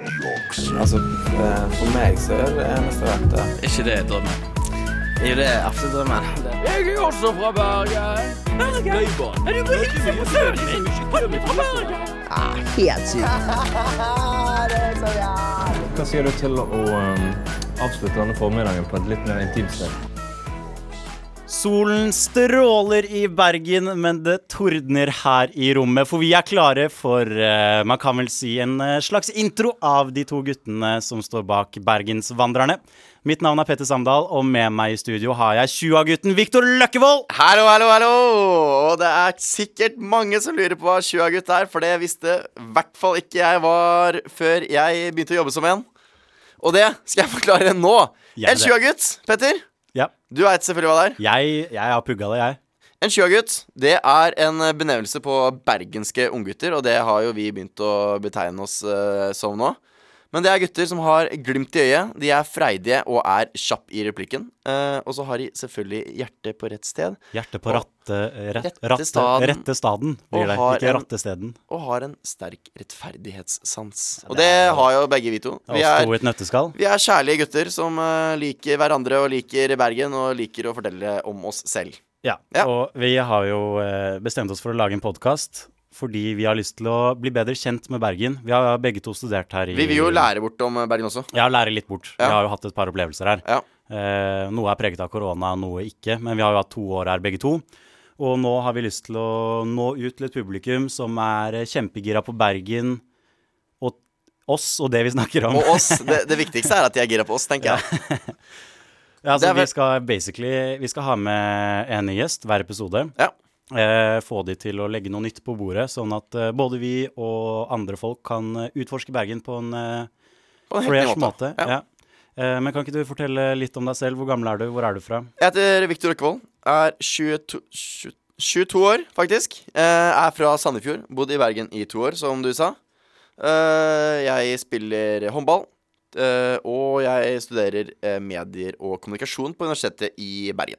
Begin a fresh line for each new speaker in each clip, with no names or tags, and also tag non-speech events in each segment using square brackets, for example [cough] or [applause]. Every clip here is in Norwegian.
aksjer.
Altså, eh, for meg så er det eneste rette.
Ikke det er drømmen. Jo, det er absolutt drømmen. Jeg er også fra Bergen. Bergen? Er du på hilse på sønnen min? Han er fra Bergen.
Helt
[laughs]
sykt.
Hva sier du til å um, avslutte denne formiddagen på et litt mer intimt sted?
Solen stråler i Bergen, men det tordner her i rommet. For vi er klare for, eh, man kan vel si, en eh, slags intro av de to guttene som står bak Bergensvandrerne. Mitt navn er Petter Samdal, og med meg i studio har jeg 20-gutten Viktor Løkkevold.
Hallo, hallo, hallo! Og det er sikkert mange som lurer på hva 20-gutt er, for det visste i hvert fall ikke jeg var før jeg begynte å jobbe som en. Og det skal jeg forklare nå.
Gjerne
en 20-gutt, Petter,
Ja,
du veit selvfølgelig hva det er.
jeg, jeg har pugga det, jeg.
En 20-gutt det er en benevnelse på bergenske unggutter, og det har jo vi begynt å betegne oss eh, som nå. Men det er gutter som har glimt i øyet, de er freidige og er kjapp i replikken. Eh, og så har de selvfølgelig hjertet på rett sted.
Hjertet på ratte, eh, rett,
Rette
ratte,
staden.
rette staden,
Og
blir det.
har
Ikke
en-
rattesteden.
og har en sterk rettferdighetssans. Og
det
det
er-
har jo begge vi to.
Og
Vi er,
sto i et nøtteskall.
vi er kjærlige gutter som eh, liker hverandre og liker Bergen og liker å fortelle om oss selv.
Ja,
Ja.
og vi har jo eh, bestemt oss for å lage en podkast fordi vi har lyst til å bli bedre kjent med Bergen. Vi har begge to studert her i
Vi vil jo lære bort om eh, Bergen også.
Ja, lære litt bort.
Ja.
Vi har jo hatt et par opplevelser her.
Ja.
Eh, noe er preget av korona, noe ikke. Men vi har jo hatt to år her, begge to. Og nå har vi lyst til å nå ut til et publikum som er eh, kjempegira på Bergen og oss og det vi snakker om.
Og oss. Det, det viktigste er at de er gira på oss,
[laughs]
tenker jeg.
Ja,
Det
så
er vel-
vi skal basically Vi skal ha med en ny gjest hver episode.
Ja.
Eh, få de til å legge noe nytt på bordet, sånn at eh, både vi og andre folk kan eh, utforske Bergen på en eh,
På en helt ny
fresh
måte.
måte. Ja. Eh, men kan ikke du fortelle litt om deg selv? Hvor gammel er du? Hvor er du fra?
Jeg heter Viktor Økkevold. Er 22, 20 22 år, faktisk. Eh, er fra Sandefjord. Bodd i Bergen i to år, som du sa. Eh, jeg spiller håndball. eh, og jeg studerer eh, medier og kommunikasjon på Universitetet i Bergen.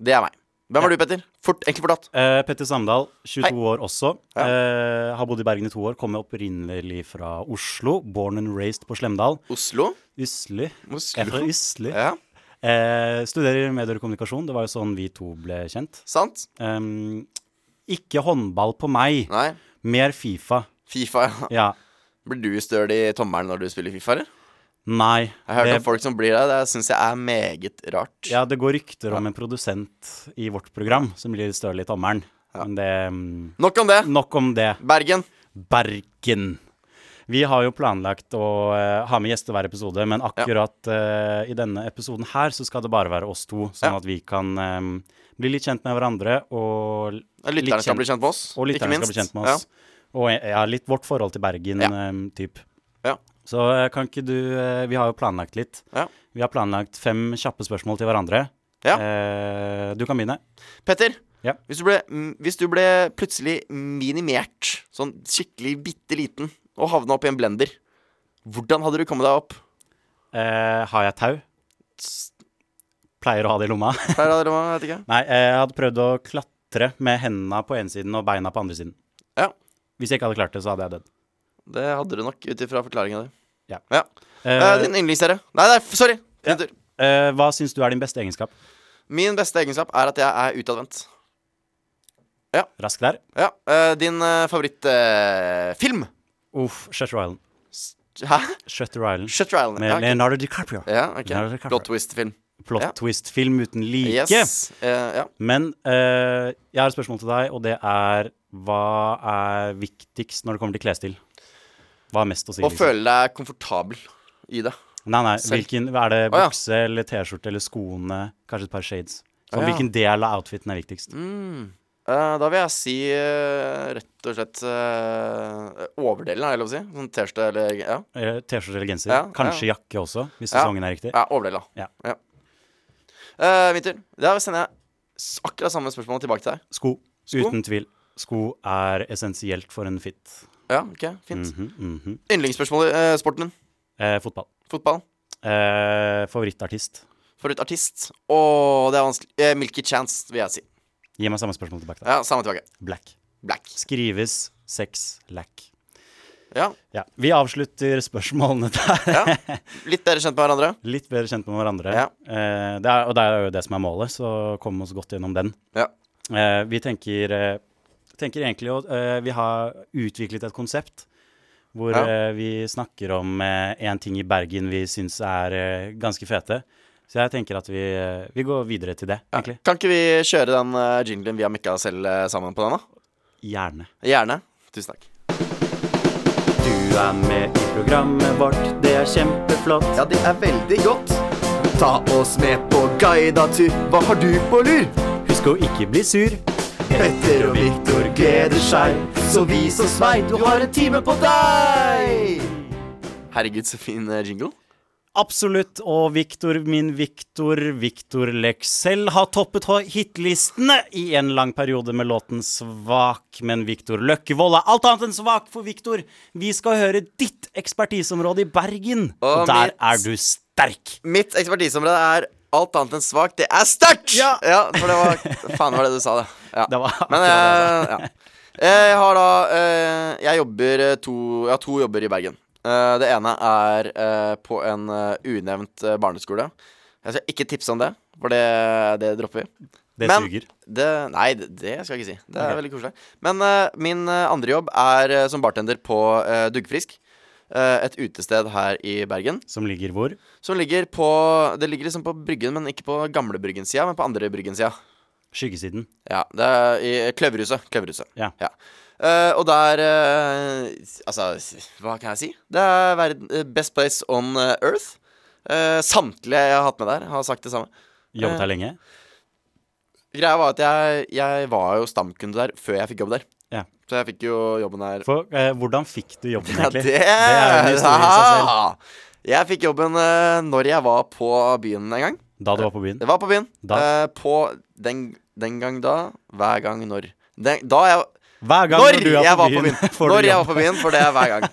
Det er meg. Hvem er du, Petter? Fort, enkelt fortalt.
Eh, Petter Samdal, 22
Hei.
år også.
Ja.
Eh, har bodd i Bergen i to år. Kommer opprinnelig fra Oslo. Born and raised på Slemdal.
Oslo.
Ysli. Jeg er fra
Oslo.
Ysli.
Ja,
Eh, studerer medier og kommunikasjon. Det var jo sånn vi to ble kjent.
sant?
Ehm, ikke håndball på meg,
Nei.
mer Fifa.
Fifa, ja.
Ja.
Blir du støl i tommelen når du spiller Fifa, eller?
Nei.
Jeg har hørt
Det,
om folk som blir det. Det syns jeg er meget rart.
ja, det går rykter om en produsent i vårt program som blir støl i tommelen. Men det mm,
Nok om det.
Nok om det.
Bergen.
Bergen. Vi har jo planlagt å eh, ha med gjester hver episode, men akkurat eh, i denne episoden her så skal det bare være oss to, sånn
Ja.
at vi kan eh, bli litt kjent med hverandre og
Ja, Lytterne skal bli kjent med oss.
Og
ikke
lytterne skal
minst.
bli kjent med oss. Og ja, litt vårt forhold til Bergen,
Ja.
eh, typ.
Ja.
Så eh, kan ikke du eh, Vi har jo planlagt litt.
Ja.
Vi har planlagt fem kjappe spørsmål til hverandre.
Ja.
Eh, du kan begynne.
Ja. Petter,
Ja.
hvis, du ble, mm, hvis du ble plutselig minimert, sånn skikkelig bitte liten, og havna opp i en blender, hvordan hadde du kommet deg opp?
Eh, har jeg tau? Pleier å ha det i lomma. [laughs]
Der hadde det vært, vet ikke.
Nei, eh, jeg hadde prøvd å klatre med hendene på ene siden og beina på andre siden.
Ja.
Hvis jeg ikke hadde klart det, så hadde jeg dødd.
Det hadde du nok, ut ifra forklaringa di.
Ja.
ja.
Eh,
Eh, din yndlingsserie. Nei, nei, f- sorry. Din tur.
eh, hva syns du er din beste egenskap?
Min beste egenskap er at jeg er utadvendt.
Rask der.
Ja. eh, din uh, favorittfilm?
Uff, Shutter Island.
Hæ?
Shutter Island.
Shutter Island.
Med
Ja, ok.
Leonardo DiCaprio.
ja,
Leonardo
ok.
DiCaprio.
Plot twist-film.
Plot
Ja.
twist-film uten like.
Yes. Eh, ja.
Men eh, jeg har et spørsmål til deg, og det er hva er viktigst når det kommer til klesstil? Hva har mest å si?
Og føle deg komfortabel i det.
Nei, nei,
selv.
hvilken, er det
Å, ja.
bukse eller T-skjorte eller skoene? Kanskje et par shades. Så
Å, ja.
Hvilken del av outfiten er viktigst?
Eh, da vil jeg si eh, rett og slett eh, overdelen, er det lov å si? Sånn T-skjorte eller ja.
Eh, T-skjorte eller genser?
Ja,
Kanskje jakke også, hvis
Ja.
sesongen er riktig.
ja overdelen, da.
Ja.
Eh, min tur. Da sender jeg s- akkurat samme spørsmål tilbake til deg.
Sko.
Sko?
Uten tvil. Sko er essensielt for en fit.
Ja, ok, fint.
Mhm, mhm.
Yndlingsspørsmålet. eh, sporten din?
Eh, fotball.
Fotball?
Eh, favorittartist.
Forut artist? Åh, det er vanskelig. Eh, Milky Chance, vil jeg si.
Gi meg samme spørsmål tilbake. Da.
Ja, Samme tilbake.
Black.
Black.
Skrives sex lack.
Ja.
Ja, vi avslutter spørsmålene der. [laughs]
ja. Litt bedre kjent med hverandre.
Litt bedre kjent med hverandre.
Ja.
Eh, det er, og det er jo det som er målet, så komme oss godt gjennom den.
Ja.
Eh, vi tenker, eh, tenker egentlig å eh, Vi har utviklet et konsept hvor
Ja.
eh, vi snakker om eh, en ting i Bergen vi syns er eh, ganske fete. Så jeg tenker at vi, eh, vi går videre til det,
Ja.
egentlig.
Kan ikke vi kjøre den eh, jinglen vi har mikka selv eh, sammen på den, da?
Gjerne.
Gjerne. Tusen takk.
Du er med i programmet vårt, det er kjempeflott.
Ja, det er veldig godt. Ta oss med på guida tur. Hva har du på lur?
Husk å ikke bli sur.
Petter og Viktor gleder seg, så vis oss vei, du har en time på deg! Herregud, så fin eh, jingle.
Absolutt. Og Victor, min Victor, Victor Leksell har toppet ho- hitlistene i en lang periode med låten Svak. Men Victor Løkkevold er alt annet enn svak for Victor. Vi skal høre ditt ekspertiseområde i Bergen. Og,
Og
der
mitt.
er du sterk.
Mitt ekspertiseområde er alt annet enn svakt. Det er sterkt!
Ja.
for det var Faen, det var det du sa, det. Ja.
Det var
Men eh,
akkurat
ja. Jeg har da eh, Jeg jobber eh, to Jeg har to jobber i Bergen. Eh, det ene er eh, på en eh, unevnt eh, barneskole. Jeg skal ikke tipse om det, for det, det dropper vi.
Det
Men-
suger.
Det, nei, det, det skal jeg ikke si. Det er veldig koselig. Men eh, min eh, andre jobb er eh, som bartender på eh, Duggfrisk. eh, et utested her i Bergen.
Som ligger hvor?
Som ligger på Det ligger liksom på Bryggen, men ikke på gamlebryggen-sida, men på andre bryggen-sida.
Skyggesiden.
Ja, det er i Kløverhuset. Kløverhuset.
Ja.
Eh, og der eh, Altså, s- hva kan jeg si? Det er verden, eh, best place on eh, earth. Eh, samtlige jeg har hatt med der, har sagt det samme.
Jobbet
Eh.
her lenge?
Greia var at jeg, jeg var jo stamkunde der før jeg fikk jobb der.
Ja.
Så jeg fikk jo jobben der
For, eh, hvordan fikk du jobben,
Ja,
egentlig?
det,
er en historie i seg selv.
Ah! [laughs] Jeg fikk jobben eh, når jeg var på byen en gang.
Da du var på byen?
Det var på byen.
Da.
Eh, på den, den gang da, hver gang når. Den, da jeg
Hver gang
Når
du er
jeg
på
var på
byen,
byen.
[laughs] får
Når
du
jeg var
jobb.
på byen, for det er hver gang.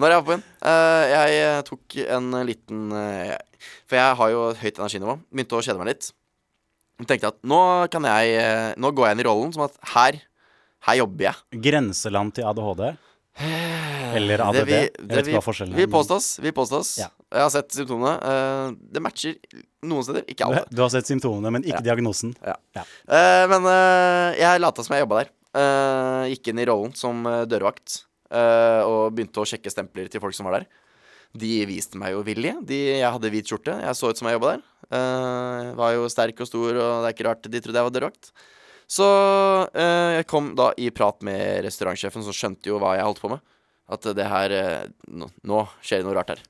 Når jeg var på byen. Eh, jeg eh, tok en eh, liten eh, For jeg har jo et høyt energinivå. Begynte å kjede meg litt. Og Tenkte at nå kan jeg eh, Nå går jeg inn i rollen som at her Her jobber jeg.
Grenseland til ADHD? Eller ADD?
vi-
jeg vet ikke hva forskjellen
vi
er. men-
påstås. Vi påstås.
Ja.
Jeg har sett symptomene. Eh, det matcher noen steder, ikke alle.
[laughs] Du, du har sett symptomene, men ikke diagnosen.
Eh, men eh, jeg lata som jeg jobba der. Eh, gikk inn i rollen som eh, dørvakt eh, og begynte å sjekke stempler til folk som var der. De viste meg jo vilje. De, jeg hadde hvit skjorte. Jeg så ut som jeg jobba der. Eh, var jo sterk og stor, og det er ikke rart de trodde jeg var dørvakt. Så eh, jeg kom da i prat med restaurantsjefen, som skjønte jo hva jeg holdt på med. At eh, det her eh, nå, nå skjer det noe rart her.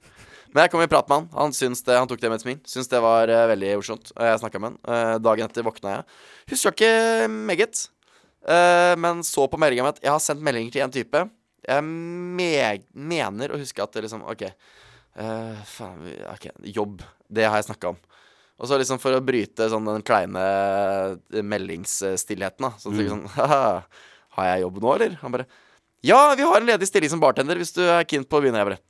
Men jeg kom i prat med han. Han, syntes det, han tok det med et smil. Syns det var eh, veldig morsomt. Og jeg snakka med han. Eh, dagen etter våkna jeg. Husker ikke meget. eh, men så på meldinga mi at jeg har sendt meldinger til én type. Jeg me mener å huske at det liksom OK. eh, faen, vi- ok, jobb. Det har jeg snakka om. Og så liksom for å bryte sånn den kleine eh, meldingsstillheten, da. Så tenker jeg sånn Haha, Har jeg jobb nå, eller? Han bare Ja, vi har en ledig stilling som bartender hvis du er keen på å begynne. Jeg bare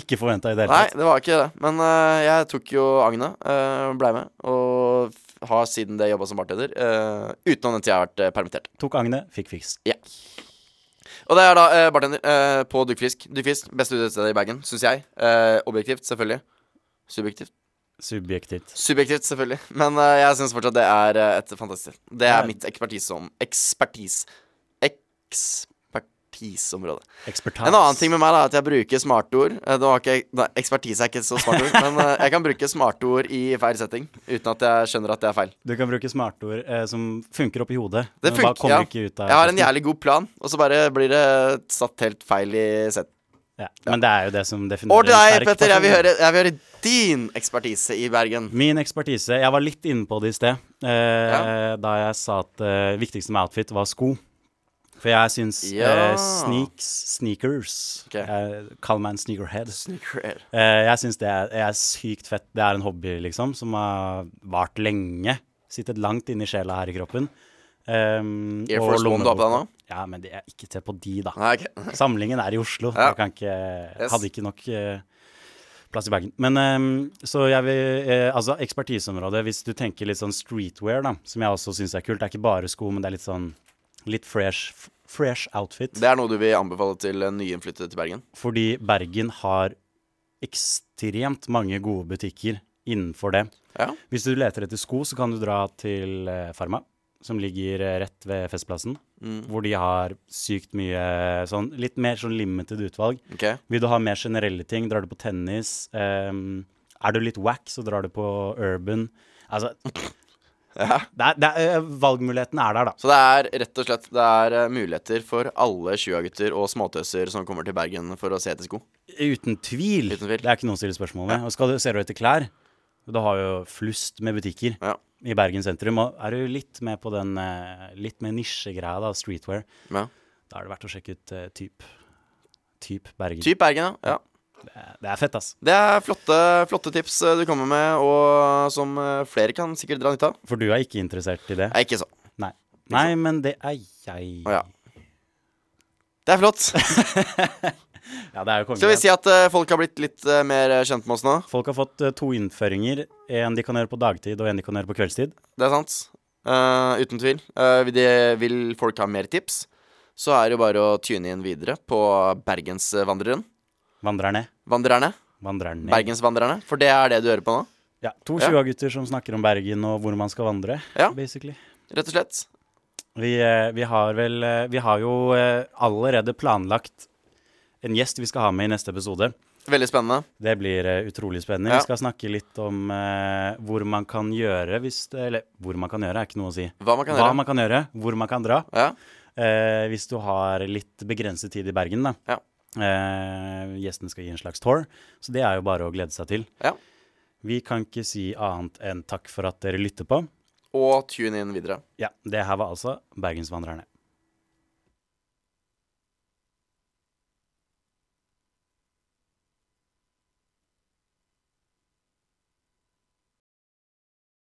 Ikke forventa i det hele
Nei,
tatt.
det var ikke det. Men øh, jeg tok jo agnet, øh, blei med, og f- har siden det jobba som bartender. øh, utenom den tida jeg har vært øh, permittert.
Tok Agne, fikk fisk.
Og det er da øh, bartender øh, på Duggfisk. Duggfisk, beste utestedet i Bergen, syns jeg. Eh, objektivt, selvfølgelig. Subjektivt.
Subjektivt.
Subjektivt, selvfølgelig. [laughs] Men øh, jeg syns fortsatt det er øh, et fantastisk sted. Det
Ja.
er mitt ekspertise om Ekspertis... Ekspertiseområde.
Ekspertise.
En annen ting med meg da, er at jeg bruker smartord. Eh, Det var ikke, nei, ekspertise er ikke så smart ord, men eh, jeg kan bruke smartord i feil setting uten at jeg skjønner at det er feil.
Du kan bruke smartord eh, som funker oppi hodet.
Det
men bare
funker,
kommer
ja.
ikke ut av
Jeg har en jævlig god plan, og så bare blir det satt helt feil i set.
ja. Men det er altså. jo det som definerer
Over til
en
deg,
sterk
Petter. Jeg vil,
person.
høre, jeg vil høre din ekspertise i Bergen.
Min ekspertise Jeg var litt inne på det i sted, eh, da jeg sa at det viktigste med outfit var sko. For jeg syns
Ja.
eh, sneaks, sneakers
Ok.
Jeg kaller meg en sneakerhead.
Sneaker.
Eh, jeg syns det er, er sykt fett. Det er en hobby liksom, som har vart lenge. Sittet langt inni sjela her i kroppen. Um,
Air Force One du har på deg nå?
Ja, men det er ikke se på de, da.
Nei, ok.
Samlingen er i Oslo.
Ja.
Jeg kan ikke,
Yes.
hadde ikke nok eh, plass i Bergen. Men ehm, så jeg vil eh, Altså, ekspertiseområdet, hvis du tenker litt sånn streetwear, da, som jeg også syns er kult, det er ikke bare sko, men det er litt sånn litt fresh, f- fresh outfit.
Det er noe du vil anbefale til eh, nyinnflyttede til Bergen?
Fordi Bergen har ekstremt mange gode butikker innenfor det.
Ja.
Hvis du leter etter sko, så kan du dra til eh, Farma, som ligger eh, rett ved Festplassen. Hvor de har sykt mye eh, sånn litt mer sånn limited utvalg.
Ok.
Vil du ha mer generelle ting, drar du på tennis. ehm, er du litt wack, så drar du på urban. Altså det er, det er, eh, Valgmuligheten er der, da.
Så det er rett og slett Det er eh, muligheter for alle sjuagutter og småtøser som kommer til Bergen for å se etter sko.
Uten tvil.
Uten tvil.
Det er ikke noe å stille spørsmål ved. Og skal du, ser du etter klær, da har jo flust med butikker
Ja.
i Bergen sentrum. Og er du litt med på den eh, litt mer nisjegreia, da, streetwear,
Ja.
da er det verdt å sjekke ut eh, typ. Typ Bergen. Eh,
Typ Bergen, ja. ja.
Det er fett, ass.
Det er flotte, flotte tips eh, du kommer med, og som eh, flere kan sikkert dra nytte av.
For du er ikke interessert i det?
Nei, ikke sånn.
Nei. Nei, men det er jeg.
Å ja. Det er
[laughs]
flott.
Ja, det er jo kongen.
Skal vi si at eh, folk har blitt litt eh, mer eh, kjent med oss nå?
Folk har fått eh, to innføringer. En de kan gjøre på dagtid, og en de kan gjøre på kveldstid.
Det er sant. Eh, uten tvil. Eh, vil de- vil folk ha mer tips, så er det jo bare å tune inn videre på Bergensvandreren.
Vandrer ned.
Vandrerne.
Vandrer ned.
Bergensvandrerne. For det er det du hører på nå,
Ja, to
Ja.
20-gutter som snakker om Bergen og hvor man skal vandre,
Ja.
basically.
rett og slett.
Vi, eh, vi har vel eh, Vi har jo eh, allerede planlagt en gjest vi skal ha med i neste episode.
Veldig spennende.
Det blir eh, utrolig spennende.
Ja.
Vi skal snakke litt om eh, hvor man kan gjøre hvis det, Eller hvor man kan gjøre, er ikke noe å si.
Hva man kan
Hva
gjøre.
man kan gjøre, hvor man kan dra.
Ja.
Eh, hvis du har litt begrenset tid i Bergen, da.
Ja.
Eh, gjesten skal gi en slags tour, så det er jo bare å glede seg til.
Ja.
Vi kan ikke si annet enn takk for at dere lytter på.
Og tune inn videre.
Ja, det her var altså Bergensvandrerne.